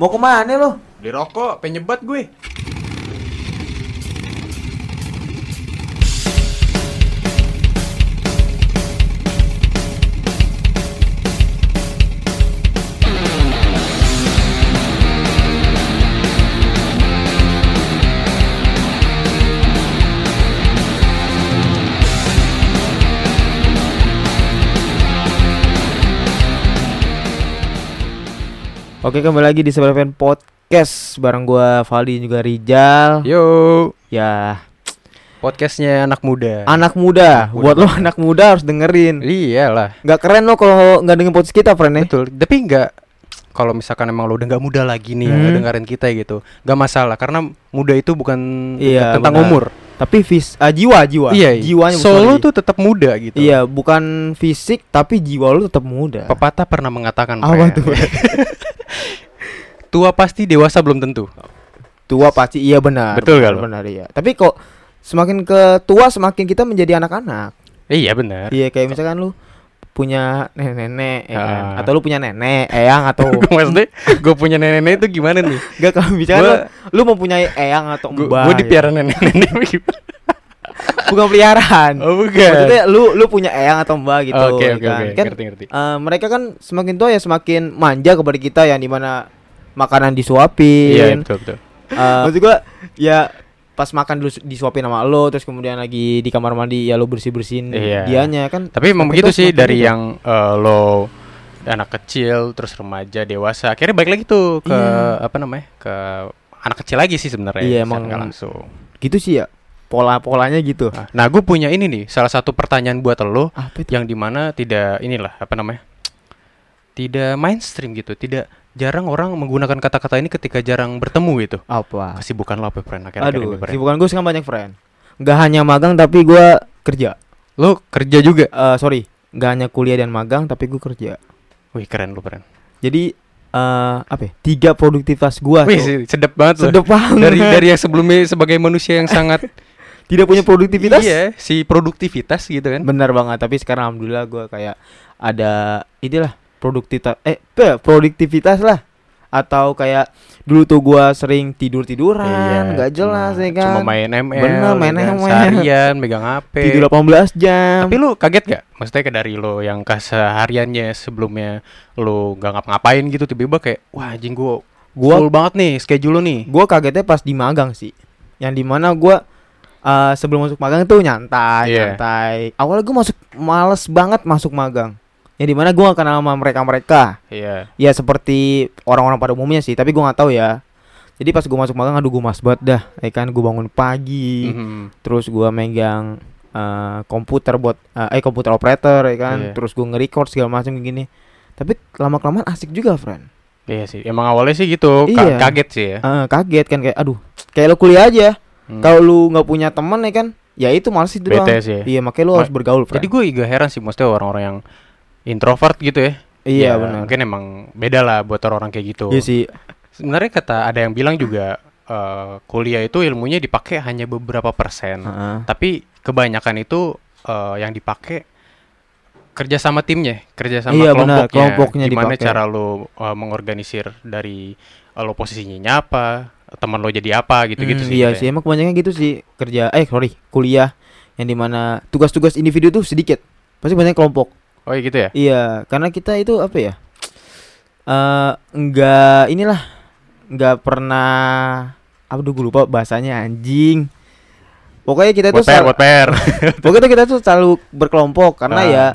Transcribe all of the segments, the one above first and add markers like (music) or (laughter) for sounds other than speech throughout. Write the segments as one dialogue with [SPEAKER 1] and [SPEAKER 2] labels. [SPEAKER 1] Mau kemana lo?
[SPEAKER 2] Beli rokok, penyebat gue.
[SPEAKER 1] Oke kembali lagi di Sebar Fan Podcast bareng gua Valdi dan juga Rijal.
[SPEAKER 2] Yo,
[SPEAKER 1] Ya,
[SPEAKER 2] podcastnya anak muda.
[SPEAKER 1] anak muda.
[SPEAKER 2] Anak muda.
[SPEAKER 1] Buat lo anak muda harus dengerin.
[SPEAKER 2] Iyalah,
[SPEAKER 1] Nggak keren lo kalau nggak dengerin podcast kita, friend ya.
[SPEAKER 2] betul. Tapi nggak kalau misalkan emang lo udah nggak muda lagi nih yang
[SPEAKER 1] Hmm.
[SPEAKER 2] dengerin kita gitu, nggak masalah karena muda itu bukan
[SPEAKER 1] Iya,
[SPEAKER 2] tentang
[SPEAKER 1] benar.
[SPEAKER 2] umur.
[SPEAKER 1] Tapi fis ah, jiwa jiwa.
[SPEAKER 2] Iya, iya.
[SPEAKER 1] Jiwanya bukan
[SPEAKER 2] Solo
[SPEAKER 1] lagi.
[SPEAKER 2] tuh tetap muda gitu.
[SPEAKER 1] Iya, bukan fisik tapi jiwa lo tetap muda.
[SPEAKER 2] Pepatah pernah mengatakan
[SPEAKER 1] Apa
[SPEAKER 2] Pren,
[SPEAKER 1] tuh?
[SPEAKER 2] tua pasti dewasa belum tentu.
[SPEAKER 1] Oh. tua pasti iya benar.
[SPEAKER 2] Betul
[SPEAKER 1] benar,
[SPEAKER 2] nggak lo?
[SPEAKER 1] Benar iya. Tapi kok semakin ke tua semakin kita menjadi anak-anak.
[SPEAKER 2] Iya (laughs) benar.
[SPEAKER 1] Iya kayak misalkan lu punya nenek-nenek ya kan?
[SPEAKER 2] Ah.
[SPEAKER 1] atau lu punya nenek eyang atau
[SPEAKER 2] Gue maksudnya, gue punya nenek-nenek itu gimana
[SPEAKER 1] (laughs)
[SPEAKER 2] nih?
[SPEAKER 1] enggak kalau misalkan
[SPEAKER 2] Gua-
[SPEAKER 1] lu, lu mempunyai eyang atau
[SPEAKER 2] Gue
[SPEAKER 1] mbak
[SPEAKER 2] gue
[SPEAKER 1] ya.
[SPEAKER 2] dipiara nenek-nenek
[SPEAKER 1] (laughs)
[SPEAKER 2] gimana?
[SPEAKER 1] bukan peliharaan
[SPEAKER 2] Oh bukan.
[SPEAKER 1] maksudnya lu lu punya eyang atau mbak gitu
[SPEAKER 2] Oke
[SPEAKER 1] ya
[SPEAKER 2] oke
[SPEAKER 1] kan,
[SPEAKER 2] oke.
[SPEAKER 1] Kan,
[SPEAKER 2] Ngerti ngerti.
[SPEAKER 1] eh, mereka kan semakin tua ya semakin manja kepada kita yang dimana makanan disuapin
[SPEAKER 2] Iya betul betul.
[SPEAKER 1] Eh, maksud gua ya pas makan dulu su- disuapin sama lo terus kemudian lagi di kamar mandi ya lo bersih bersihin
[SPEAKER 2] Iya.
[SPEAKER 1] dianya kan
[SPEAKER 2] Tapi emang
[SPEAKER 1] Tapi itu
[SPEAKER 2] begitu sih
[SPEAKER 1] semakin
[SPEAKER 2] dari
[SPEAKER 1] gitu.
[SPEAKER 2] yang eh, lo anak kecil terus remaja dewasa akhirnya balik lagi tuh ke
[SPEAKER 1] Iya.
[SPEAKER 2] apa namanya ke anak kecil lagi sih sebenarnya
[SPEAKER 1] Iya,
[SPEAKER 2] secara
[SPEAKER 1] emang-
[SPEAKER 2] nggak langsung
[SPEAKER 1] gitu sih ya pola polanya gitu
[SPEAKER 2] Nah, nah gue punya ini nih salah satu pertanyaan buat lo
[SPEAKER 1] apa itu
[SPEAKER 2] yang dimana tidak inilah apa namanya tidak mainstream gitu tidak jarang orang menggunakan kata-kata ini ketika jarang bertemu gitu
[SPEAKER 1] apa
[SPEAKER 2] kesibukan lo apa friend akhir-akhir
[SPEAKER 1] Aduh,
[SPEAKER 2] ini Pren?
[SPEAKER 1] bukan gue sekarang kan banyak friend. Gak hanya magang tapi gue kerja.
[SPEAKER 2] lo kerja juga
[SPEAKER 1] Eh sorry, gak hanya kuliah dan magang tapi gue kerja.
[SPEAKER 2] wih keren lo friend
[SPEAKER 1] Jadi eh apa? Ya? Tiga produktivitas gue.
[SPEAKER 2] wih se- sedap banget lo
[SPEAKER 1] Sedep banget.
[SPEAKER 2] dari dari yang sebelumnya sebagai manusia yang sangat
[SPEAKER 1] tidak punya produktivitas.
[SPEAKER 2] iya si produktivitas gitu kan
[SPEAKER 1] Benar banget. Tapi sekarang alhamdulillah gue kayak ada itulah produktivitas. Eh pe- produktivitas lah. Atau kayak dulu tuh gue sering tidur tiduran, nggak jelas
[SPEAKER 2] Iya, cuma,
[SPEAKER 1] ya kan.
[SPEAKER 2] cuma main ML
[SPEAKER 1] Bener,
[SPEAKER 2] ya
[SPEAKER 1] main
[SPEAKER 2] kan,
[SPEAKER 1] ML.
[SPEAKER 2] seharian megang HP
[SPEAKER 1] tidur 18 jam.
[SPEAKER 2] Tapi lu kaget gak? Maksudnya kayak dari lo yang kesehariannya sebelumnya lo gak ngapa-ngapain gitu tiba-tiba kayak wah anjing gua
[SPEAKER 1] Gua-
[SPEAKER 2] full banget nih schedule lo nih.
[SPEAKER 1] gue kagetnya pas di magang sih yang dimana gue eh sebelum masuk magang tuh nyantai
[SPEAKER 2] Iya.
[SPEAKER 1] nyantai awalnya gue masuk males banget masuk magang yang dimana gue gak kenal sama mereka mereka
[SPEAKER 2] Iya.
[SPEAKER 1] ya seperti orang-orang pada umumnya sih tapi gue nggak tahu ya jadi pas gue masuk magang aduh gue mas banget dah ya kan gue bangun pagi
[SPEAKER 2] Mhm.
[SPEAKER 1] terus gue megang eh, komputer buat eh eh, komputer operator ya kan
[SPEAKER 2] Iya.
[SPEAKER 1] terus gue nge-record segala macam kayak gini tapi lama kelamaan asik juga friend
[SPEAKER 2] Iya sih. Emang awalnya sih gitu ka-
[SPEAKER 1] Iya.
[SPEAKER 2] kaget sih ya.
[SPEAKER 1] Eh, kaget kan kayak aduh kayak lo kuliah aja
[SPEAKER 2] Hmm.
[SPEAKER 1] Kalau lu nggak punya teman ya kan, ya itu malas itu doang.
[SPEAKER 2] Bete sih. ya.
[SPEAKER 1] Iya, makanya lu
[SPEAKER 2] Ma-
[SPEAKER 1] harus bergaul, Fran.
[SPEAKER 2] Jadi gue juga heran sih maksudnya orang-orang yang introvert gitu ya.
[SPEAKER 1] iya
[SPEAKER 2] Ya,
[SPEAKER 1] benar.
[SPEAKER 2] Mungkin emang beda lah buat orang-orang kayak gitu.
[SPEAKER 1] Iya sih.
[SPEAKER 2] Sebenarnya kata ada yang bilang juga eh, kuliah itu ilmunya dipakai hanya beberapa persen.
[SPEAKER 1] Heeh.
[SPEAKER 2] tapi kebanyakan itu eh, yang dipakai kerja sama timnya, kerja sama
[SPEAKER 1] Iya,
[SPEAKER 2] kelompoknya.
[SPEAKER 1] benar, kelompoknya
[SPEAKER 2] Gimana
[SPEAKER 1] dipakai.
[SPEAKER 2] cara lo eh, mengorganisir dari eh, lo posisinya apa, teman lo jadi apa gitu-gitu
[SPEAKER 1] Hmm,
[SPEAKER 2] sih.
[SPEAKER 1] Iya
[SPEAKER 2] gitu
[SPEAKER 1] sih,
[SPEAKER 2] ya.
[SPEAKER 1] emang kebanyakan gitu sih kerja. Eh, sorry, kuliah yang dimana tugas-tugas individu tuh sedikit. Pasti banyak kelompok.
[SPEAKER 2] Oh, iya gitu ya.
[SPEAKER 1] Iya, karena kita itu apa ya? Eh, enggak inilah enggak pernah aduh gue lupa bahasanya anjing. Pokoknya kita tuh
[SPEAKER 2] Buat PR,
[SPEAKER 1] sel-
[SPEAKER 2] buat
[SPEAKER 1] (laughs)
[SPEAKER 2] PR.
[SPEAKER 1] Pokoknya kita tuh selalu berkelompok karena
[SPEAKER 2] Ah.
[SPEAKER 1] ya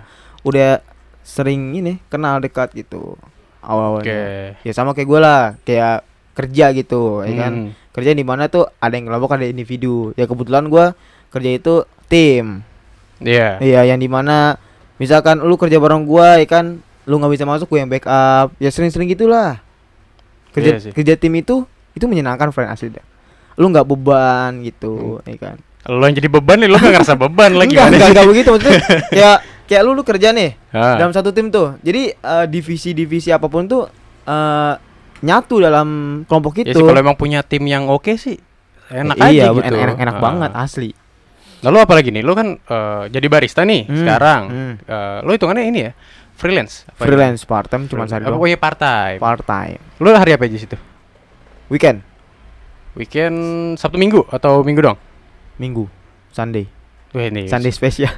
[SPEAKER 1] udah sering ini kenal dekat gitu awal-awalnya.
[SPEAKER 2] Oke.
[SPEAKER 1] Ya sama kayak gue lah, kayak kerja gitu, ya kan.
[SPEAKER 2] Hmm.
[SPEAKER 1] Kerja di mana tuh ada yang kelompok, ada yang individu. Ya kebetulan gua kerja itu tim.
[SPEAKER 2] Iya.
[SPEAKER 1] Iya, yang di mana misalkan lu kerja bareng gua ya kan, lu nggak bisa masuk gue yang backup. Ya sering-sering gitulah. Kerja
[SPEAKER 2] Iya sih.
[SPEAKER 1] kerja tim itu itu menyenangkan friend asli dah. Lu nggak beban gitu,
[SPEAKER 2] Hmm.
[SPEAKER 1] ya kan.
[SPEAKER 2] Lo yang jadi beban nih, lo gak ngerasa beban (laughs) lagi. kan?
[SPEAKER 1] Enggak, enggak, enggak begitu
[SPEAKER 2] (laughs)
[SPEAKER 1] maksudnya. kayak kayak lu lu kerja nih dalam
[SPEAKER 2] Dalam
[SPEAKER 1] satu tim tuh. Jadi eh, divisi-divisi apapun tuh eh, nyatu dalam kelompok
[SPEAKER 2] ya
[SPEAKER 1] itu.
[SPEAKER 2] sih, kalau emang punya tim yang oke sih enak
[SPEAKER 1] Eh, iya,
[SPEAKER 2] aja
[SPEAKER 1] Enak,
[SPEAKER 2] gitu.
[SPEAKER 1] enak, enak
[SPEAKER 2] Ah.
[SPEAKER 1] banget asli.
[SPEAKER 2] Lalu apalagi nih, lo kan eh, jadi barista nih
[SPEAKER 1] Hmm,
[SPEAKER 2] sekarang.
[SPEAKER 1] hmm.
[SPEAKER 2] Eh, lo hitungannya ini ya freelance apa ya?
[SPEAKER 1] freelance part time cuma sehari
[SPEAKER 2] Apa-
[SPEAKER 1] doang
[SPEAKER 2] oh iya part time
[SPEAKER 1] part time
[SPEAKER 2] lu hari apa aja situ
[SPEAKER 1] weekend
[SPEAKER 2] weekend sabtu minggu atau minggu dong
[SPEAKER 1] minggu Sunday
[SPEAKER 2] Wah, ini
[SPEAKER 1] Sunday spesial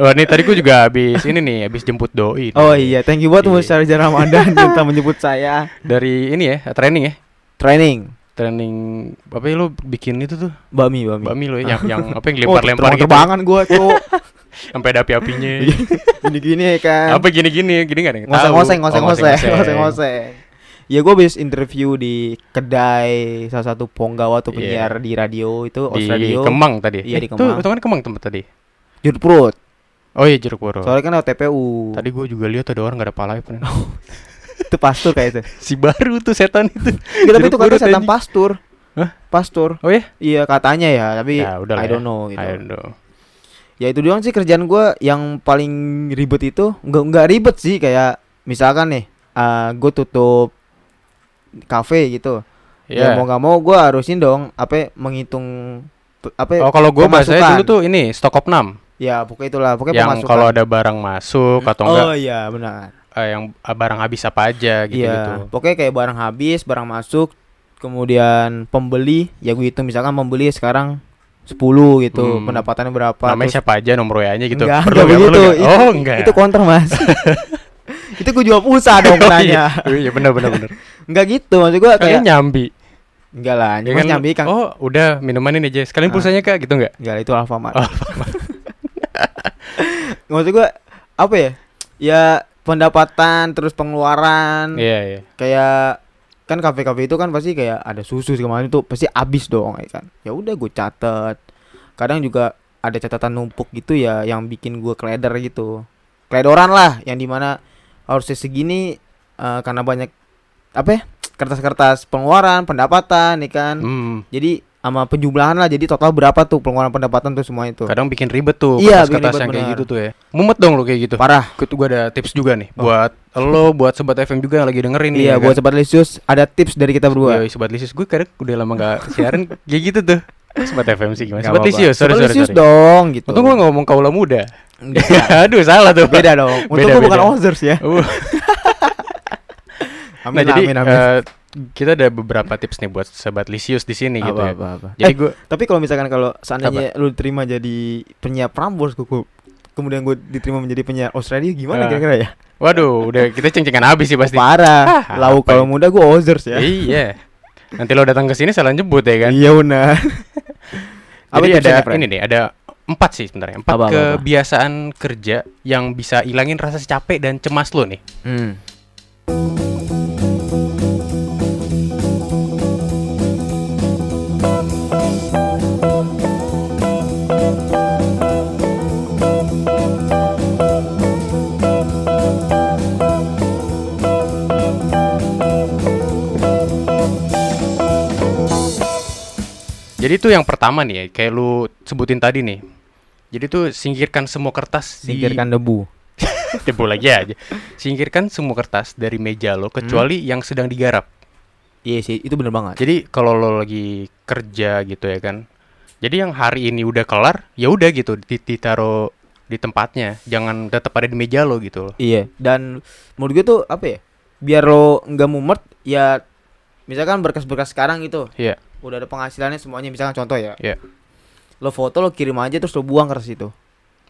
[SPEAKER 2] Wah, ini tadi gue juga habis ini nih, habis jemput doi. nih.
[SPEAKER 1] oh iya thank you buat
[SPEAKER 2] Iya.
[SPEAKER 1] Musyawarah
[SPEAKER 2] (laughs)
[SPEAKER 1] Ramadan yang telah menyebut saya
[SPEAKER 2] Dari ini ya, training ya.
[SPEAKER 1] training
[SPEAKER 2] Training apa ya lu bikin itu tuh?
[SPEAKER 1] Bami Bami Oh,
[SPEAKER 2] Bakmi lo ya, yang, yang apa
[SPEAKER 1] (laughs)
[SPEAKER 2] yang lempar-lempar gitu.
[SPEAKER 1] terbangan gue tuh
[SPEAKER 2] Sampai ada
[SPEAKER 1] (laughs)
[SPEAKER 2] api-apinya.
[SPEAKER 1] gini-gini kan
[SPEAKER 2] apa gini-gini, gini enggak ada yang tahu.
[SPEAKER 1] Iya. ngoseng ngoseng
[SPEAKER 2] Oh,
[SPEAKER 1] ngoseng ngoseng
[SPEAKER 2] (laughs)
[SPEAKER 1] (laughs) ngoseng ngoseng ya gue habis interview di kedai salah satu penggawa atau
[SPEAKER 2] Iya.
[SPEAKER 1] penyiar di radio itu Os
[SPEAKER 2] Di
[SPEAKER 1] Radio
[SPEAKER 2] Kemang tadi.
[SPEAKER 1] Iya, di
[SPEAKER 2] Eh,
[SPEAKER 1] Kemang.
[SPEAKER 2] Tuh, itu kan Kemang tempat tadi.
[SPEAKER 1] Jodhpur.
[SPEAKER 2] Oh iya, jeruk purut.
[SPEAKER 1] soalnya kan lewat TPU
[SPEAKER 2] Tadi gue juga lihat ada orang gak ada palanya
[SPEAKER 1] (laughs)
[SPEAKER 2] pernah.
[SPEAKER 1] itu pastur kayak
[SPEAKER 2] (laughs)
[SPEAKER 1] itu
[SPEAKER 2] si baru tuh setan itu.
[SPEAKER 1] Nggak, tapi
[SPEAKER 2] Jeruk
[SPEAKER 1] itu katanya
[SPEAKER 2] purut,
[SPEAKER 1] setan
[SPEAKER 2] anjing.
[SPEAKER 1] pastur
[SPEAKER 2] Hah?
[SPEAKER 1] pastur
[SPEAKER 2] Oh ya?
[SPEAKER 1] iya katanya ya tapi
[SPEAKER 2] Ya udah lah.
[SPEAKER 1] I
[SPEAKER 2] ya.
[SPEAKER 1] don't know gitu
[SPEAKER 2] I don't know.
[SPEAKER 1] ya itu doang sih kerjaan gue yang paling ribet itu nggak nggak ribet sih kayak misalkan nih gue tutup kafe gitu ya
[SPEAKER 2] Iya.
[SPEAKER 1] mau nggak mau gue harusin dong apa menghitung pe- apa
[SPEAKER 2] Oh kalau gue bahasanya dulu
[SPEAKER 1] pemasukan.
[SPEAKER 2] tuh ini stok opnam
[SPEAKER 1] ya pokoknya itulah pokoknya
[SPEAKER 2] yang
[SPEAKER 1] pemasukan
[SPEAKER 2] kalau ada barang masuk atau enggak
[SPEAKER 1] oh iya benar
[SPEAKER 2] eh, yang eh, barang habis apa aja gitu gitu.
[SPEAKER 1] iya pokoknya kayak barang habis barang masuk kemudian pembeli ya gue hitung misalkan pembeli sekarang 10 gitu
[SPEAKER 2] Hmm.
[SPEAKER 1] pendapatannya berapa
[SPEAKER 2] Namanya
[SPEAKER 1] terus-
[SPEAKER 2] siapa aja nomor WA-nya gitu.
[SPEAKER 1] enggak,
[SPEAKER 2] Perlu
[SPEAKER 1] enggak
[SPEAKER 2] nggak, perlu
[SPEAKER 1] begitu
[SPEAKER 2] nggak?
[SPEAKER 1] Itu-
[SPEAKER 2] Oh enggak.
[SPEAKER 1] itu counter
[SPEAKER 2] (laughs)
[SPEAKER 1] mas itu gue jual pulsa dong
[SPEAKER 2] Oh, iya.
[SPEAKER 1] nanya
[SPEAKER 2] Oh, Iya benar benar benar.
[SPEAKER 1] enggak gitu maksud gue
[SPEAKER 2] Kalian
[SPEAKER 1] kayak
[SPEAKER 2] nyambi.
[SPEAKER 1] enggak lah cuma
[SPEAKER 2] Ya kan?
[SPEAKER 1] nyambi kang
[SPEAKER 2] Oh, udah minuman ini aja. Sekalian
[SPEAKER 1] Ah.
[SPEAKER 2] pulsanya Kak gitu enggak?
[SPEAKER 1] enggak itu Alfamart
[SPEAKER 2] Oh,
[SPEAKER 1] (laughs) maksud gue apa ya ya pendapatan terus pengeluaran
[SPEAKER 2] Iya, iya.
[SPEAKER 1] kayak kan kafe-kafe itu kan pasti kayak ada susu segala macam tuh pasti abis dong ya kan ya udah gue catet kadang juga ada catatan numpuk gitu ya yang bikin gue kleder gitu kledoran lah yang dimana harusnya segini eh, karena banyak apa ya kertas-kertas pengeluaran pendapatan ya kan
[SPEAKER 2] Hmm.
[SPEAKER 1] jadi sama penjumlahan lah jadi total berapa tuh pengeluaran pendapatan tuh semua itu
[SPEAKER 2] Kadang bikin ribet tuh
[SPEAKER 1] Iya, bikin
[SPEAKER 2] kertas
[SPEAKER 1] ribet,
[SPEAKER 2] yang kayak
[SPEAKER 1] benar.
[SPEAKER 2] gitu tuh ya. Mumet dong lo kayak gitu.
[SPEAKER 1] parah
[SPEAKER 2] Ikut gue ada tips juga nih
[SPEAKER 1] Oh.
[SPEAKER 2] buat lo, buat sobat FM juga yang lagi dengerin nih.
[SPEAKER 1] iya buat sobat Lesius ada tips dari kita berdua
[SPEAKER 2] Yoi, Sobat Lisius gue kadang udah lama gak
[SPEAKER 1] (laughs)
[SPEAKER 2] siaran kayak gitu tuh Sobat FM sih gimana
[SPEAKER 1] Nggak
[SPEAKER 2] Sobat
[SPEAKER 1] apa-apa.
[SPEAKER 2] Lisius sorry
[SPEAKER 1] Sobat
[SPEAKER 2] sorry,
[SPEAKER 1] Lesius
[SPEAKER 2] sorry.
[SPEAKER 1] dong gitu
[SPEAKER 2] Untung gue ngomong kaula muda
[SPEAKER 1] Nggak.
[SPEAKER 2] Aduh salah tuh
[SPEAKER 1] Iya. beda dong. Untung
[SPEAKER 2] (laughs) Beda,
[SPEAKER 1] gue bukan
[SPEAKER 2] beda.
[SPEAKER 1] Ozers ya.
[SPEAKER 2] (laughs) Uh,
[SPEAKER 1] Amin,
[SPEAKER 2] Nah jadi
[SPEAKER 1] amin, amin.
[SPEAKER 2] eh, kita ada beberapa tips nih buat Sobat Lisius di sini gitu
[SPEAKER 1] Apa,
[SPEAKER 2] ya
[SPEAKER 1] apa, apa.
[SPEAKER 2] Jadi
[SPEAKER 1] Eh,
[SPEAKER 2] gue
[SPEAKER 1] tapi kalau misalkan kalau seandainya lu diterima jadi penyiar Prambors gue, kemudian gue diterima menjadi penyiar Australia gimana
[SPEAKER 2] Ah,
[SPEAKER 1] kira-kira ya?
[SPEAKER 2] Waduh udah kita ceng-cengan habis sih pasti
[SPEAKER 1] Parah.
[SPEAKER 2] Ah,
[SPEAKER 1] Lau
[SPEAKER 2] apa
[SPEAKER 1] kalau muda gue Ozers ya.
[SPEAKER 2] Iya Nanti lo datang ke sini salah nyebut ya kan
[SPEAKER 1] Iya benar. Apa
[SPEAKER 2] Jadi
[SPEAKER 1] tipsnya,
[SPEAKER 2] ada
[SPEAKER 1] Fred?
[SPEAKER 2] ini nih ada empat sih sebenarnya empat
[SPEAKER 1] Apa, apa, apa?
[SPEAKER 2] kebiasaan kerja yang bisa ilangin rasa capek dan cemas lo nih
[SPEAKER 1] Hmm.
[SPEAKER 2] Jadi itu yang pertama nih, ya, kayak lu sebutin tadi nih. Jadi tuh singkirkan semua kertas di- (laughs)
[SPEAKER 1] Singkirkan debu.
[SPEAKER 2] debu lagi ya, aja. Singkirkan semua kertas dari meja lo
[SPEAKER 1] Hmm.
[SPEAKER 2] kecuali yang sedang digarap.
[SPEAKER 1] Iya sih, itu bener banget.
[SPEAKER 2] Jadi kalau lo lagi kerja gitu ya kan. Jadi yang hari ini udah kelar, ya udah gitu di- ditaruh di tempatnya. Jangan tetap ada di meja lo gitu loh.
[SPEAKER 1] Iya, dan menurut gue tuh apa ya? Biar lo nggak mumet ya misalkan berkas-berkas sekarang gitu
[SPEAKER 2] Iya.
[SPEAKER 1] udah ada penghasilannya semuanya misalkan contoh ya
[SPEAKER 2] Iya.
[SPEAKER 1] lo foto lo kirim aja terus lo buang kertas itu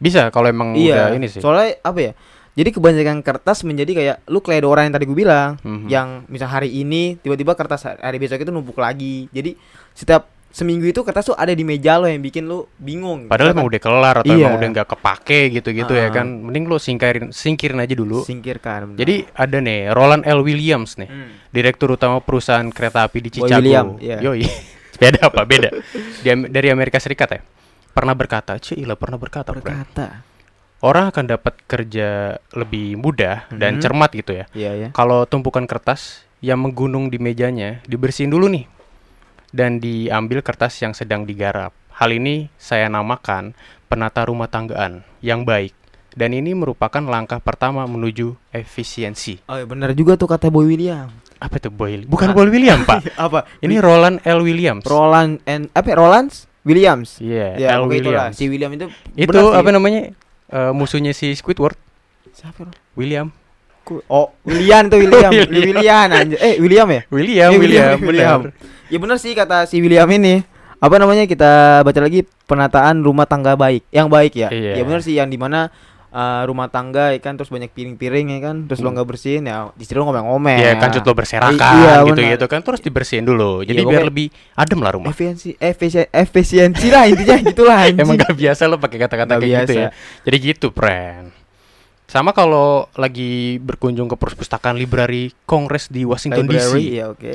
[SPEAKER 2] Bisa kalau emang
[SPEAKER 1] iya
[SPEAKER 2] Hmm, udah ini sih.
[SPEAKER 1] soalnya apa ya jadi kebanyakan kertas menjadi kayak lu kledoran yang tadi gue bilang
[SPEAKER 2] Mhm.
[SPEAKER 1] yang misal hari ini tiba-tiba kertas hari- hari besok itu numpuk lagi jadi setiap seminggu itu kertas tuh ada di meja lo yang bikin lu bingung
[SPEAKER 2] Padahal emang udah kelar atau
[SPEAKER 1] Iya.
[SPEAKER 2] emang udah nggak kepake gitu-gitu
[SPEAKER 1] Ah.
[SPEAKER 2] ya kan. Mending lo singkirin singkirin aja dulu.
[SPEAKER 1] singkirkan benar.
[SPEAKER 2] Jadi eh, ada nih Roland L Williams nih.
[SPEAKER 1] Hmm.
[SPEAKER 2] direktur utama perusahaan kereta api di
[SPEAKER 1] Boy
[SPEAKER 2] Chicago.
[SPEAKER 1] William, iya.
[SPEAKER 2] Yoi. (laughs) Beda apa? Beda. Di Am- dari Amerika Serikat ya. Pernah berkata, "Cilah, pernah berkata, Bro.
[SPEAKER 1] berkata
[SPEAKER 2] Orang akan dapat kerja lebih mudah dan
[SPEAKER 1] Mhm.
[SPEAKER 2] cermat gitu ya.
[SPEAKER 1] iya ya
[SPEAKER 2] Kalau tumpukan kertas yang menggunung di mejanya dibersihin dulu nih dan diambil kertas yang sedang digarap. Hal ini saya namakan penata rumah tanggaan yang baik. Dan ini merupakan langkah pertama menuju efisiensi.
[SPEAKER 1] oh iya benar juga tuh kata Boy William
[SPEAKER 2] Apa itu
[SPEAKER 1] Ah.
[SPEAKER 2] Boy? Bukan Boy William,
[SPEAKER 1] (laughs)
[SPEAKER 2] Pak.
[SPEAKER 1] apa
[SPEAKER 2] Ini Roland L. Williams.
[SPEAKER 1] Roland and apa ya, Roland Williams
[SPEAKER 2] Iya,
[SPEAKER 1] ya
[SPEAKER 2] L.
[SPEAKER 1] pokoknya itulah.
[SPEAKER 2] Williams.
[SPEAKER 1] si William itu
[SPEAKER 2] Itu
[SPEAKER 1] benar sih.
[SPEAKER 2] apa namanya? eh, musuhnya si Squidward.
[SPEAKER 1] Siapa orang?
[SPEAKER 2] William.
[SPEAKER 1] Ku- Oh, William (laughs) tuh William.
[SPEAKER 2] William.
[SPEAKER 1] William anjir. Eh, William ya?
[SPEAKER 2] William,
[SPEAKER 1] Eh,
[SPEAKER 2] Iya, William,
[SPEAKER 1] William.
[SPEAKER 2] benar.
[SPEAKER 1] Ya benar sih kata si William ini. Apa namanya kita baca lagi penataan rumah tangga baik. Yang baik ya. Ya
[SPEAKER 2] Iya.
[SPEAKER 1] benar sih yang dimana eh, rumah tangga ya kan terus banyak piring-piring ya kan terus lo nggak bersihin ya istri lo ngomel-ngomel
[SPEAKER 2] Iya kan cut lo berserakan
[SPEAKER 1] Iya,
[SPEAKER 2] gitu-gitu kan terus dibersihin dulu. Jadi
[SPEAKER 1] Iya,
[SPEAKER 2] biar
[SPEAKER 1] pokoknya-
[SPEAKER 2] lebih adem lah rumah.
[SPEAKER 1] efisiensi efisien efisiensi lah intinya (laughs) gitulah anjing
[SPEAKER 2] Emang gak biasa lo pakai kata-kata
[SPEAKER 1] Nggak
[SPEAKER 2] kayak gitu
[SPEAKER 1] biasa.
[SPEAKER 2] ya. Jadi gitu, friend. Sama kalau lagi berkunjung ke perpustakaan library Kongres di Washington
[SPEAKER 1] Library,
[SPEAKER 2] DC,
[SPEAKER 1] ya oke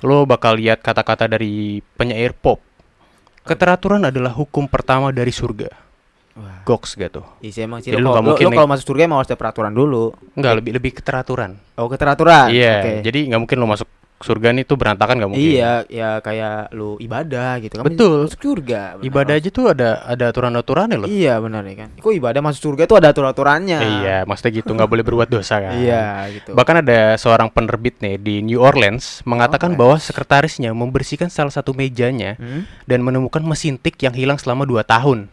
[SPEAKER 2] lo bakal lihat kata-kata dari penyair pop. Keteraturan adalah hukum pertama dari surga.
[SPEAKER 1] Wah,
[SPEAKER 2] Goks gitu.
[SPEAKER 1] iya sih emang sih
[SPEAKER 2] Jadi
[SPEAKER 1] lo
[SPEAKER 2] lu nggak
[SPEAKER 1] kalau-
[SPEAKER 2] mungkin
[SPEAKER 1] lo- lo
[SPEAKER 2] nih-
[SPEAKER 1] kalau masuk surga emang harus ada peraturan dulu
[SPEAKER 2] Enggak, lebih lebih keteraturan.
[SPEAKER 1] oh keteraturan
[SPEAKER 2] Iya,
[SPEAKER 1] oke.
[SPEAKER 2] jadi nggak mungkin lo masuk surga nih tuh berantakan nggak mungkin.
[SPEAKER 1] iya ya kayak lu ibadah gitu kan
[SPEAKER 2] Betul.
[SPEAKER 1] masuk surga benar.
[SPEAKER 2] Ibadah aja tuh ada ada aturan-aturannya loh.
[SPEAKER 1] iya benar ya kan kok ibadah masuk surga itu ada aturan aturannya
[SPEAKER 2] Iya, maksudnya gitu nggak boleh berbuat dosa kan.
[SPEAKER 1] iya gitu
[SPEAKER 2] Bahkan ada seorang penerbit nih di New Orleans mengatakan
[SPEAKER 1] Orleans.
[SPEAKER 2] bahwa sekretarisnya membersihkan salah satu mejanya
[SPEAKER 1] Hmm?
[SPEAKER 2] dan menemukan mesin tik yang hilang selama 2 tahun.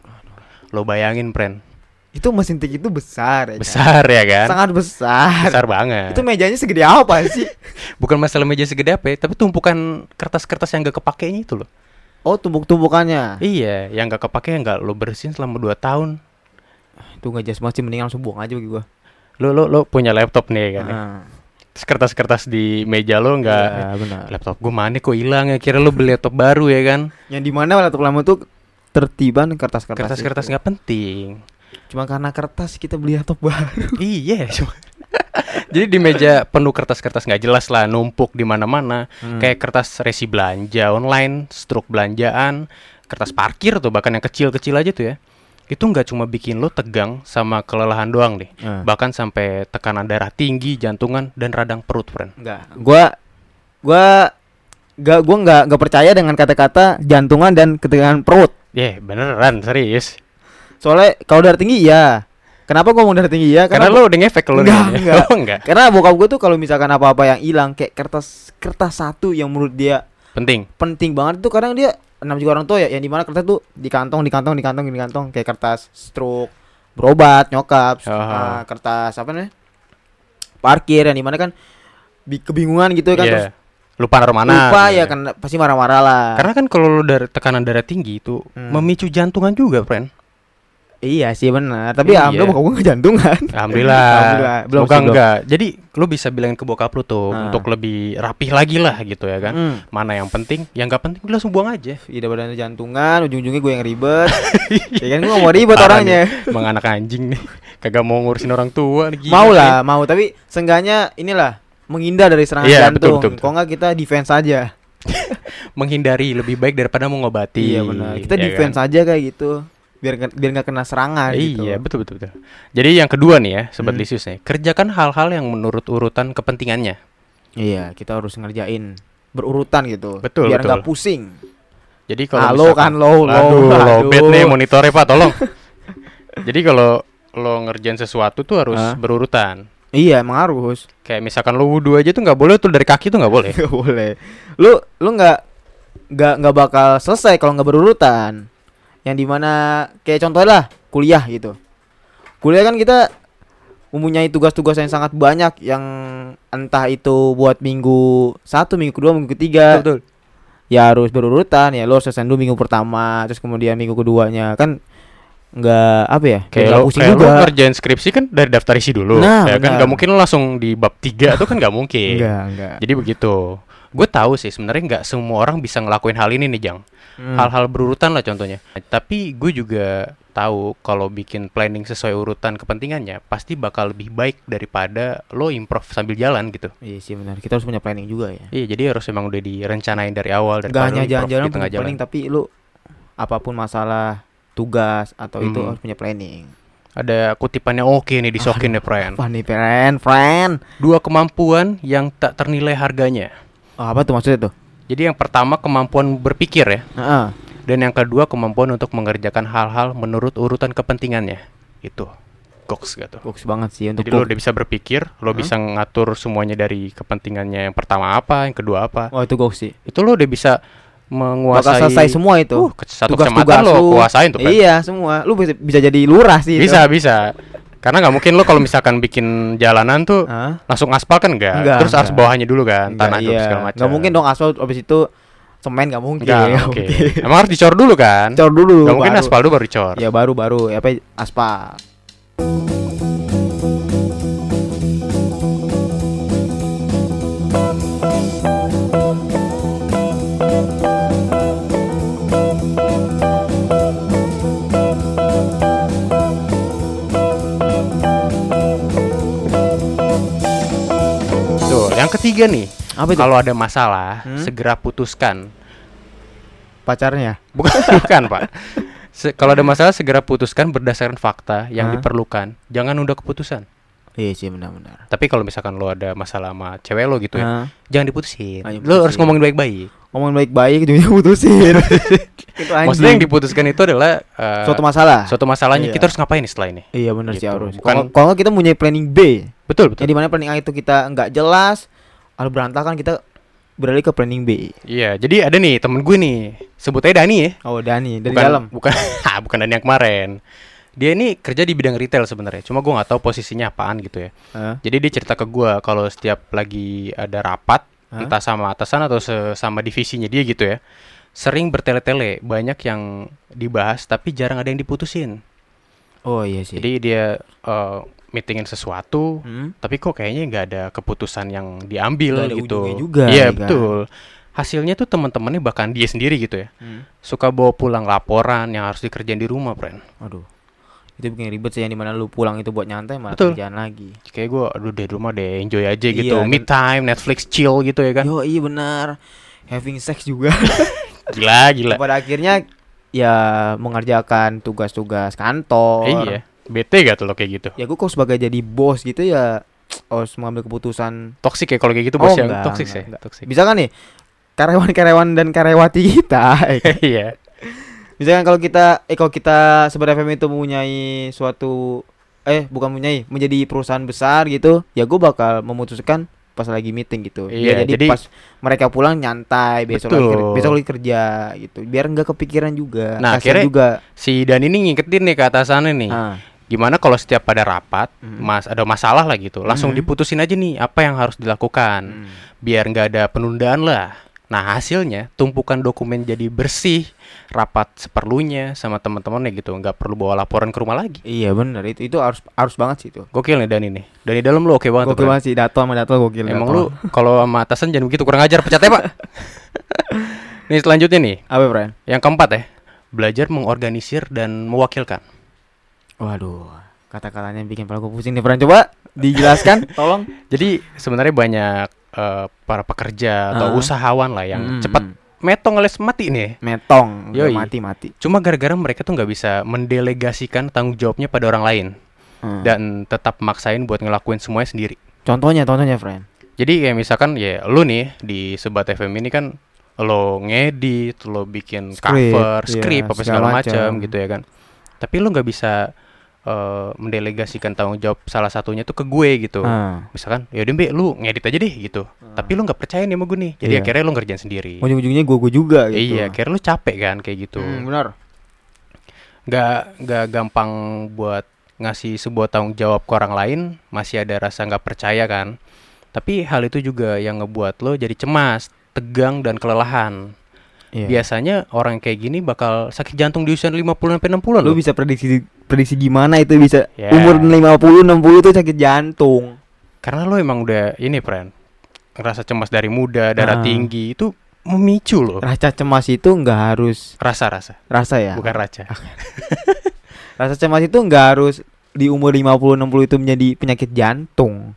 [SPEAKER 2] Lo bayangin, Pren.
[SPEAKER 1] itu mesin tik itu besar ya Chan?
[SPEAKER 2] Besar ya kan?
[SPEAKER 1] sangat besar
[SPEAKER 2] Besar banget.
[SPEAKER 1] itu mejanya segede apa
[SPEAKER 2] (laughs)
[SPEAKER 1] sih
[SPEAKER 2] Bukan masalah meja segede apa, ya, tapi tumpukan kertas-kertas yang gak kepakainya itu loh.
[SPEAKER 1] oh tumpuk tumpukannya
[SPEAKER 2] Iya, yang gak kepake yang gak lo bersihin selama 2 tahun.
[SPEAKER 1] itu nggak jelas banget sih mendingan langsung buang aja bagi gua
[SPEAKER 2] Lo lo lo punya laptop nih ya kan. ya?
[SPEAKER 1] Ah,
[SPEAKER 2] Terus kertas-kertas di meja lo nggak
[SPEAKER 1] iya, benar
[SPEAKER 2] laptop gue mana kok hilang ya kira lo beli laptop baru ya kan
[SPEAKER 1] Yang di mana laptop lama tuh tertiban kertas-kertas.
[SPEAKER 2] kertas-kertas
[SPEAKER 1] itu.
[SPEAKER 2] nggak penting
[SPEAKER 1] Cuma karena kertas kita beli laptop baru.
[SPEAKER 2] iya cuma- jadi di meja penuh kertas-kertas nggak jelas lah numpuk di mana-mana
[SPEAKER 1] Hmm.
[SPEAKER 2] kayak kertas resi belanja online struk belanjaan kertas parkir tuh bahkan yang kecil-kecil aja tuh ya itu nggak cuma bikin lo tegang sama kelelahan doang nih
[SPEAKER 1] Hmm.
[SPEAKER 2] bahkan sampai tekanan darah tinggi jantungan dan radang perut friend
[SPEAKER 1] enggak. Gua gua gak gua nggak nggak percaya dengan kata-kata jantungan dan ketegangan perut.
[SPEAKER 2] ya beneran serius
[SPEAKER 1] Soalnya kalau darah tinggi ya. Kenapa gua mau darah tinggi ya?
[SPEAKER 2] karena, lo udah ngefek lo
[SPEAKER 1] Nggak,
[SPEAKER 2] nih.
[SPEAKER 1] nggak.
[SPEAKER 2] (laughs) Oh, nggak
[SPEAKER 1] karena bokap gue tuh kalau misalkan apa-apa yang hilang kayak kertas kertas satu yang menurut dia
[SPEAKER 2] penting
[SPEAKER 1] penting banget tuh kadang dia enam juga orang tua ya yang dimana kertas tuh di kantong di kantong di kantong di kantong kayak kertas stroke berobat nyokap
[SPEAKER 2] Ah.
[SPEAKER 1] ah, kertas apa namanya parkir yang dimana kan bi- kebingungan gitu kan
[SPEAKER 2] Iya.
[SPEAKER 1] terus
[SPEAKER 2] lupa naruh mana
[SPEAKER 1] lupa
[SPEAKER 2] gitu
[SPEAKER 1] ya kan pasti marah-marah lah
[SPEAKER 2] Karena kan kalau lu dari tekanan darah tinggi itu
[SPEAKER 1] Hmm.
[SPEAKER 2] memicu jantungan juga, friend.
[SPEAKER 1] iya sih benar tapi
[SPEAKER 2] Iya.
[SPEAKER 1] ya alhamdulillah bokap gue nggak jantungan
[SPEAKER 2] Alhamdulillah.
[SPEAKER 1] (laughs) Alhamdulillah. Belum
[SPEAKER 2] Semoga
[SPEAKER 1] sih, belum.
[SPEAKER 2] enggak. Jadi lu bisa bilangin ke bokap lu tuh
[SPEAKER 1] Ah.
[SPEAKER 2] untuk lebih rapih lagi lah gitu ya kan.
[SPEAKER 1] Hmm.
[SPEAKER 2] Mana yang penting, yang nggak penting lu langsung buang aja.
[SPEAKER 1] Ih, daripada jantungan ujung-ujungnya gue yang
[SPEAKER 2] (laughs)
[SPEAKER 1] ribet ya kan gue nggak mau ribet
[SPEAKER 2] Parah
[SPEAKER 1] orangnya
[SPEAKER 2] nih, Emang anak anjing nih. Kagak mau ngurusin orang tua nih, gila
[SPEAKER 1] mau
[SPEAKER 2] sih.
[SPEAKER 1] lah mau tapi seenggaknya inilah menghindar dari serangan
[SPEAKER 2] Iya, betul,
[SPEAKER 1] jantung
[SPEAKER 2] betul, betul.
[SPEAKER 1] kok nggak kita defense aja
[SPEAKER 2] Menghindari lebih baik daripada mengobati.
[SPEAKER 1] Iya benar. Kita
[SPEAKER 2] ya
[SPEAKER 1] defense
[SPEAKER 2] kan?
[SPEAKER 1] aja kayak gitu biar nggak- biar nggak kena serangan gitu.
[SPEAKER 2] Iya, betul betul betul. Jadi yang kedua nih ya, sobat
[SPEAKER 1] Hmm.
[SPEAKER 2] Lisius nih, kerjakan hal-hal yang menurut urutan kepentingannya.
[SPEAKER 1] Iya, kita harus ngerjain berurutan gitu.
[SPEAKER 2] Betul,
[SPEAKER 1] biar
[SPEAKER 2] betul.
[SPEAKER 1] nggak pusing.
[SPEAKER 2] Jadi kalau
[SPEAKER 1] Halo
[SPEAKER 2] misalkan-
[SPEAKER 1] kan low low.
[SPEAKER 2] Aduh, lowbat nih
[SPEAKER 1] aduh.
[SPEAKER 2] monitornya Pak, tolong. (laughs) Jadi kalau lo ngerjain sesuatu tuh harus
[SPEAKER 1] Hah?
[SPEAKER 2] berurutan.
[SPEAKER 1] Iya, emang harus.
[SPEAKER 2] Kayak misalkan lo wudhu aja tuh nggak boleh tuh dari kaki tuh nggak boleh.
[SPEAKER 1] Nggak boleh. Lu lu nggak nggak nggak bakal selesai kalau nggak berurutan. Yang dimana kayak contohnya lah kuliah gitu. Kuliah kan kita mempunyai tugas-tugas yang sangat banyak yang entah itu buat minggu satu, minggu kedua, minggu ketiga,
[SPEAKER 2] Betul.
[SPEAKER 1] ya harus berurutan ya lo selesai dulu minggu pertama terus kemudian minggu keduanya kan nggak apa ya
[SPEAKER 2] Kayak
[SPEAKER 1] nggak
[SPEAKER 2] lo,
[SPEAKER 1] pusing
[SPEAKER 2] kayak lo
[SPEAKER 1] juga
[SPEAKER 2] ngerjain skripsi kan dari daftar isi dulu.
[SPEAKER 1] Nah,
[SPEAKER 2] ya kan
[SPEAKER 1] benar.
[SPEAKER 2] nggak mungkin lo langsung di bab 3 tuh kan nggak mungkin.
[SPEAKER 1] enggak enggak
[SPEAKER 2] Jadi begitu. Gue tahu sih sebenarnya nggak semua orang bisa ngelakuin hal ini nih, Jang.
[SPEAKER 1] Hmm.
[SPEAKER 2] Hal-hal berurutan lah contohnya. Tapi gue juga tahu kalau bikin planning sesuai urutan kepentingannya pasti bakal lebih baik daripada lo improv sambil jalan gitu.
[SPEAKER 1] iya sih benar kita harus punya planning juga ya
[SPEAKER 2] Iya, jadi harus emang udah direncanain dari awal dari gitu,
[SPEAKER 1] nggak hanya jalan-jalan punya planning tapi lu apapun masalah tugas atau itu
[SPEAKER 2] Hmm.
[SPEAKER 1] harus punya planning
[SPEAKER 2] Ada kutipannya oke nih disokin ya, Brian.
[SPEAKER 1] wah nih friend friend
[SPEAKER 2] Dua kemampuan yang tak ternilai harganya.
[SPEAKER 1] Oh, apa tuh maksudnya tuh
[SPEAKER 2] Jadi yang pertama kemampuan berpikir ya,
[SPEAKER 1] Heeh.
[SPEAKER 2] dan yang kedua kemampuan untuk mengerjakan hal-hal menurut urutan kepentingannya. Itu. Goks gitu.
[SPEAKER 1] Bagus banget sih untuk
[SPEAKER 2] Jadi lo
[SPEAKER 1] gua-
[SPEAKER 2] udah bisa berpikir, lo bisa ngatur semuanya dari kepentingannya yang pertama apa, yang kedua apa.
[SPEAKER 1] oh itu goks sih
[SPEAKER 2] Itu lo udah bisa menguasai
[SPEAKER 1] bakal selesai semua itu
[SPEAKER 2] Uh, ke- satu kecamatan lo
[SPEAKER 1] lu.
[SPEAKER 2] kuasain tuh. Pren.
[SPEAKER 1] iya semua lu bisa, bisa jadi lurah sih itu.
[SPEAKER 2] Bisa, bisa. Karena nggak mungkin lo kalau misalkan bikin jalanan tuh
[SPEAKER 1] Hah?
[SPEAKER 2] langsung aspal kan enggak?
[SPEAKER 1] Enggak,
[SPEAKER 2] Terus harus
[SPEAKER 1] enggak.
[SPEAKER 2] bawahnya dulu kan,
[SPEAKER 1] Nggak,
[SPEAKER 2] tanah dulu
[SPEAKER 1] iya.
[SPEAKER 2] segala macam.
[SPEAKER 1] Nggak mungkin dong asal abis itu semen nggak mungkin.
[SPEAKER 2] Enggak,
[SPEAKER 1] nggak
[SPEAKER 2] oke.
[SPEAKER 1] mungkin.
[SPEAKER 2] Emang harus dicor dulu kan?
[SPEAKER 1] Cor dulu.
[SPEAKER 2] Nggak mungkin
[SPEAKER 1] baru-
[SPEAKER 2] aspal dulu baru dicor.
[SPEAKER 1] Ya baru baru apa aspal.
[SPEAKER 2] Tuh, yang ketiga nih,
[SPEAKER 1] Apa itu?
[SPEAKER 2] kalau ada masalah,
[SPEAKER 1] Hmm?
[SPEAKER 2] segera putuskan.
[SPEAKER 1] pacarnya.
[SPEAKER 2] Bukan (laughs) bukan, Pak. Se- kalau ada masalah segera putuskan berdasarkan fakta yang
[SPEAKER 1] Hah?
[SPEAKER 2] diperlukan. Jangan udah keputusan.
[SPEAKER 1] Iya sih benar-benar.
[SPEAKER 2] Tapi kalau misalkan lo ada masalah sama cewek lo gitu ya,
[SPEAKER 1] Hah?
[SPEAKER 2] jangan
[SPEAKER 1] Jangan
[SPEAKER 2] diputusin. Lo harus
[SPEAKER 1] diputusin.
[SPEAKER 2] ngomongin baik-baik.
[SPEAKER 1] Ngomongin baik-baik juga
[SPEAKER 2] (laughs)
[SPEAKER 1] putusin. Itu
[SPEAKER 2] Maksudnya yang
[SPEAKER 1] anjing.
[SPEAKER 2] diputuskan itu adalah eh,
[SPEAKER 1] suatu masalah.
[SPEAKER 2] suatu masalahnya
[SPEAKER 1] Iya.
[SPEAKER 2] kita harus ngapain nih setelah ini.
[SPEAKER 1] Iya benar sih
[SPEAKER 2] Gitu.
[SPEAKER 1] harus.
[SPEAKER 2] Bukan-
[SPEAKER 1] Kalau kalau nggak kita punya planning B,
[SPEAKER 2] Betul,
[SPEAKER 1] yang
[SPEAKER 2] betul.
[SPEAKER 1] dimana planning A itu kita nggak jelas, lalu berantakan kita beralih ke planning B.
[SPEAKER 2] Iya, jadi ada nih temen gue nih, sebut aja Dani ya.
[SPEAKER 1] Oh Dani dari
[SPEAKER 2] bukan,
[SPEAKER 1] dalam.
[SPEAKER 2] Bukan, (laughs) Ah, bukan Dani yang kemarin. Dia ini kerja di bidang retail sebenarnya. Cuma gue nggak tahu posisinya apaan gitu ya.
[SPEAKER 1] Hah?
[SPEAKER 2] Jadi dia cerita ke gue kalau setiap lagi ada rapat,
[SPEAKER 1] Hah?
[SPEAKER 2] entah sama atasan atau se- sama divisinya dia gitu ya, sering bertele-tele, banyak yang dibahas tapi jarang ada yang diputusin.
[SPEAKER 1] Oh iya sih.
[SPEAKER 2] Jadi dia eh, meetingin sesuatu,
[SPEAKER 1] Hmm?
[SPEAKER 2] tapi kok kayaknya nggak ada keputusan yang diambil
[SPEAKER 1] Nggak ada
[SPEAKER 2] gitu.
[SPEAKER 1] ujungnya juga,
[SPEAKER 2] Iya
[SPEAKER 1] ya kan?
[SPEAKER 2] betul. Hasilnya tuh teman-temannya bahkan dia sendiri gitu ya, suka bawa pulang laporan yang harus dikerjain di rumah, friend.
[SPEAKER 1] Aduh. Itu bikin ribet sih yang dimana lu pulang itu buat nyantai malah
[SPEAKER 2] Betul.
[SPEAKER 1] kerjaan lagi.
[SPEAKER 2] Kayak gue, aduh deh di rumah deh, enjoy aja gitu,
[SPEAKER 1] Iya,
[SPEAKER 2] me time, Netflix chill gitu ya kan.
[SPEAKER 1] Yo iya benar. Having sex juga.
[SPEAKER 2] Gila, (laughs) gila.
[SPEAKER 1] Pada akhirnya ya mengerjakan tugas-tugas kantor.
[SPEAKER 2] Iya, bete gak tuh lo kayak gitu?
[SPEAKER 1] Ya gue kok sebagai jadi bos gitu ya harus mengambil keputusan
[SPEAKER 2] Toxic ya kalau kayak gitu
[SPEAKER 1] Oh,
[SPEAKER 2] bos yang
[SPEAKER 1] enggak, enggak,
[SPEAKER 2] toxic ya,
[SPEAKER 1] enggak.
[SPEAKER 2] toxic. (laughs)
[SPEAKER 1] Bisa kan nih karyawan-karyawan dan karyawati kita. (laughs) eh,
[SPEAKER 2] Iya.
[SPEAKER 1] Misalkan kalau kita eh kalau kita Sebar FM itu mempunyai suatu eh bukan mempunyai menjadi perusahaan besar gitu, ya gue bakal memutuskan pas lagi meeting gitu. Ya,
[SPEAKER 2] Iya,
[SPEAKER 1] jadi,
[SPEAKER 2] jadi-
[SPEAKER 1] pas mereka pulang nyantai besok lagi ker-
[SPEAKER 2] Betul.
[SPEAKER 1] besok lagi kerja gitu. Biar nggak kepikiran juga.
[SPEAKER 2] Nah,
[SPEAKER 1] kasihan
[SPEAKER 2] akhirnya
[SPEAKER 1] juga.
[SPEAKER 2] Si Dan ini ngiketin nih ke atasannya nih.
[SPEAKER 1] Ah,
[SPEAKER 2] Gimana kalau setiap pada rapat,
[SPEAKER 1] Mhm.
[SPEAKER 2] mas ada masalah lah gitu, langsung
[SPEAKER 1] Mhm.
[SPEAKER 2] diputusin aja nih apa yang harus dilakukan,
[SPEAKER 1] mm.
[SPEAKER 2] biar nggak ada penundaan lah. Nah hasilnya tumpukan dokumen jadi bersih, rapat seperlunya sama teman-temannya gitu, nggak perlu bawa laporan ke rumah lagi.
[SPEAKER 1] Iya benar itu itu harus harus banget sih itu.
[SPEAKER 2] Gokil nih Dan ini. Dan di dalam lo oke banget. tuh,
[SPEAKER 1] Gokil
[SPEAKER 2] Bran.
[SPEAKER 1] banget sih Dato sama Dato gokil.
[SPEAKER 2] Emang
[SPEAKER 1] Dato.
[SPEAKER 2] lu
[SPEAKER 1] (laughs)
[SPEAKER 2] kalau sama atasan jangan begitu kurang ajar pecatnya pak. nih selanjutnya nih
[SPEAKER 1] apa, Brian?
[SPEAKER 2] yang keempat ya belajar mengorganisir dan mewakilkan.
[SPEAKER 1] Waduh, kata-katanya bikin kepala gue pusing nih, Fran. Coba
[SPEAKER 2] (laughs)
[SPEAKER 1] dijelaskan, tolong.
[SPEAKER 2] Jadi sebenarnya banyak eh, para pekerja
[SPEAKER 1] Ah.
[SPEAKER 2] atau usahawan lah yang
[SPEAKER 1] Mm,
[SPEAKER 2] cepat
[SPEAKER 1] mm.
[SPEAKER 2] metong alias mati nih.
[SPEAKER 1] metong,
[SPEAKER 2] Yoi.
[SPEAKER 1] mati-mati.
[SPEAKER 2] Cuma gara-gara mereka tuh nggak bisa mendelegasikan tanggung jawabnya pada orang lain
[SPEAKER 1] Hmm.
[SPEAKER 2] Hmm. dan tetap maksain buat ngelakuin semuanya sendiri.
[SPEAKER 1] Contohnya, contohnya, Fran.
[SPEAKER 2] Jadi kayak misalkan ya lu nih di Sebat FM ini kan lo ngedit, lo bikin
[SPEAKER 1] Script,
[SPEAKER 2] cover,
[SPEAKER 1] iya,
[SPEAKER 2] script apa
[SPEAKER 1] segala
[SPEAKER 2] segala macam
[SPEAKER 1] macam.
[SPEAKER 2] gitu ya kan. Tapi lu nggak bisa eh, mendelegasikan tanggung jawab salah satunya tuh ke gue gitu.
[SPEAKER 1] Ah.
[SPEAKER 2] Misalkan, ya udah Mbe, lu ngedit aja deh gitu. Tapi lu nggak percaya nih sama gue nih. Jadi
[SPEAKER 1] Iya.
[SPEAKER 2] akhirnya lu ngerjain sendiri.
[SPEAKER 1] Ujung-ujungnya gue gue juga gitu.
[SPEAKER 2] Iya, akhirnya lu capek kan kayak gitu.
[SPEAKER 1] Hmm, benar.
[SPEAKER 2] Nggak nggak gampang buat ngasih sebuah tanggung jawab ke orang lain, masih ada rasa nggak percaya kan. Tapi hal itu juga yang ngebuat lo jadi cemas, tegang dan kelelahan.
[SPEAKER 1] Iya.
[SPEAKER 2] Biasanya orang kayak gini bakal sakit jantung di usia 50 sampai 60
[SPEAKER 1] Lu
[SPEAKER 2] loh.
[SPEAKER 1] bisa prediksi prediksi gimana itu bisa
[SPEAKER 2] Ya.
[SPEAKER 1] umur 50 60 tuh sakit jantung.
[SPEAKER 2] Karena lo emang udah ini, friend. Ngerasa cemas dari muda, darah
[SPEAKER 1] Ah.
[SPEAKER 2] tinggi itu memicu lo.
[SPEAKER 1] Rasa cemas itu nggak harus
[SPEAKER 2] Rasa-rasa,
[SPEAKER 1] rasa ya.
[SPEAKER 2] bukan raca.
[SPEAKER 1] Rasa cemas itu nggak harus di umur 50 60 itu menjadi penyakit jantung.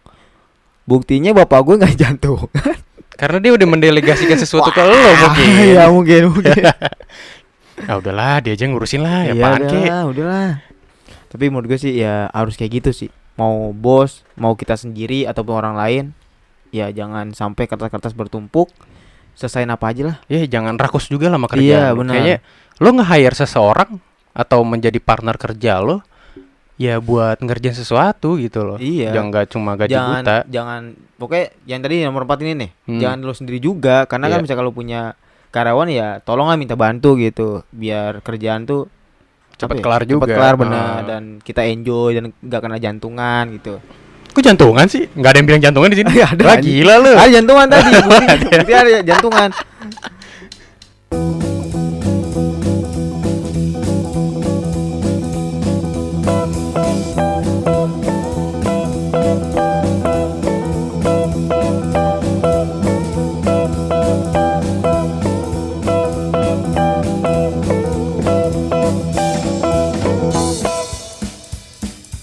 [SPEAKER 1] Buktinya bapak gue nggak (laughs) jantung.
[SPEAKER 2] Karena dia udah mendelegasikan sesuatu ke lo
[SPEAKER 1] Ah, (laughs)
[SPEAKER 2] mungkin.
[SPEAKER 1] Iya, mungkin mungkin.
[SPEAKER 2] Ah udahlah, dia aja ngurusin lah, ya
[SPEAKER 1] Iya
[SPEAKER 2] apaan
[SPEAKER 1] udah
[SPEAKER 2] kek.
[SPEAKER 1] lah, udah lah. Tapi menurut gue sih ya harus kayak gitu sih. Mau bos, mau kita sendiri ataupun orang lain, ya jangan sampai kertas-kertas bertumpuk. Selesain apa aja lah.
[SPEAKER 2] Ya jangan rakus juga lama
[SPEAKER 1] Iya,
[SPEAKER 2] kerja.
[SPEAKER 1] benar.
[SPEAKER 2] Kayaknya lo nge-hire seseorang atau menjadi partner kerja lo ya buat ngerjain sesuatu gitu loh.
[SPEAKER 1] Iya.
[SPEAKER 2] Jangan nggak cuma gaji
[SPEAKER 1] jangan
[SPEAKER 2] buta.
[SPEAKER 1] jangan pokoknya yang tadi nomor 4 ini nih.
[SPEAKER 2] Hmm.
[SPEAKER 1] Jangan lo sendiri juga karena kan
[SPEAKER 2] Iya.
[SPEAKER 1] bisa kalau punya karyawan ya tolonglah minta bantu gitu biar kerjaan tuh apa
[SPEAKER 2] Cepat
[SPEAKER 1] ya,
[SPEAKER 2] kelar juga.
[SPEAKER 1] Cepat kelar benar
[SPEAKER 2] Ah.
[SPEAKER 1] dan kita enjoy dan nggak kena jantungan gitu.
[SPEAKER 2] Kok
[SPEAKER 1] (laughs)
[SPEAKER 2] jantungan sih? Nggak ada yang bilang jantungan di sini.
[SPEAKER 1] Ada,
[SPEAKER 2] Lah
[SPEAKER 1] anjing.
[SPEAKER 2] gila lu. (laughs)
[SPEAKER 1] Ada jantungan tadi. bukti- bukti ada jantungan.